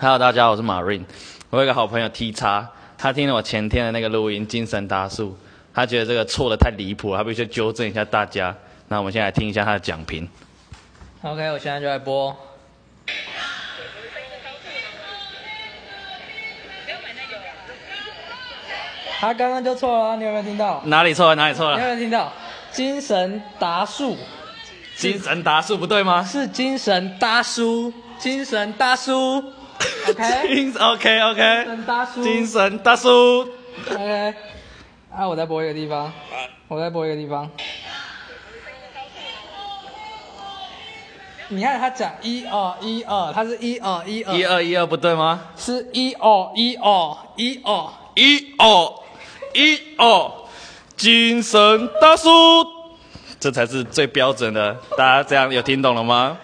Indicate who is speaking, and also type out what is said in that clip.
Speaker 1: Hello，大家好，我是 Marine。我有一个好朋友 T 叉，他听了我前天的那个录音，精神达数，他觉得这个错的太离谱了，他必须纠正一下大家。那我们先来听一下他的讲评。
Speaker 2: OK，我现在就来播。他刚刚就错了啊，你有没有听到？
Speaker 1: 哪里错了？哪里错
Speaker 2: 你有没
Speaker 1: 了？
Speaker 2: 有听到？精神达数
Speaker 1: 精神达数不对吗
Speaker 2: 是精神达叔，精神达叔。OK，
Speaker 1: 精 OK
Speaker 2: 精
Speaker 1: OK，
Speaker 2: 神达叔。
Speaker 1: 哎精神大叔。
Speaker 2: OK，啊，我再播一个地方，我再播一个地方。你看他讲一二一二，他是一二一二，
Speaker 1: 一二一二不对吗？
Speaker 2: 是一哦一哦一哦，
Speaker 1: 一哦一哦，精神大叔，这才是最标准的。大家这样有听懂了吗？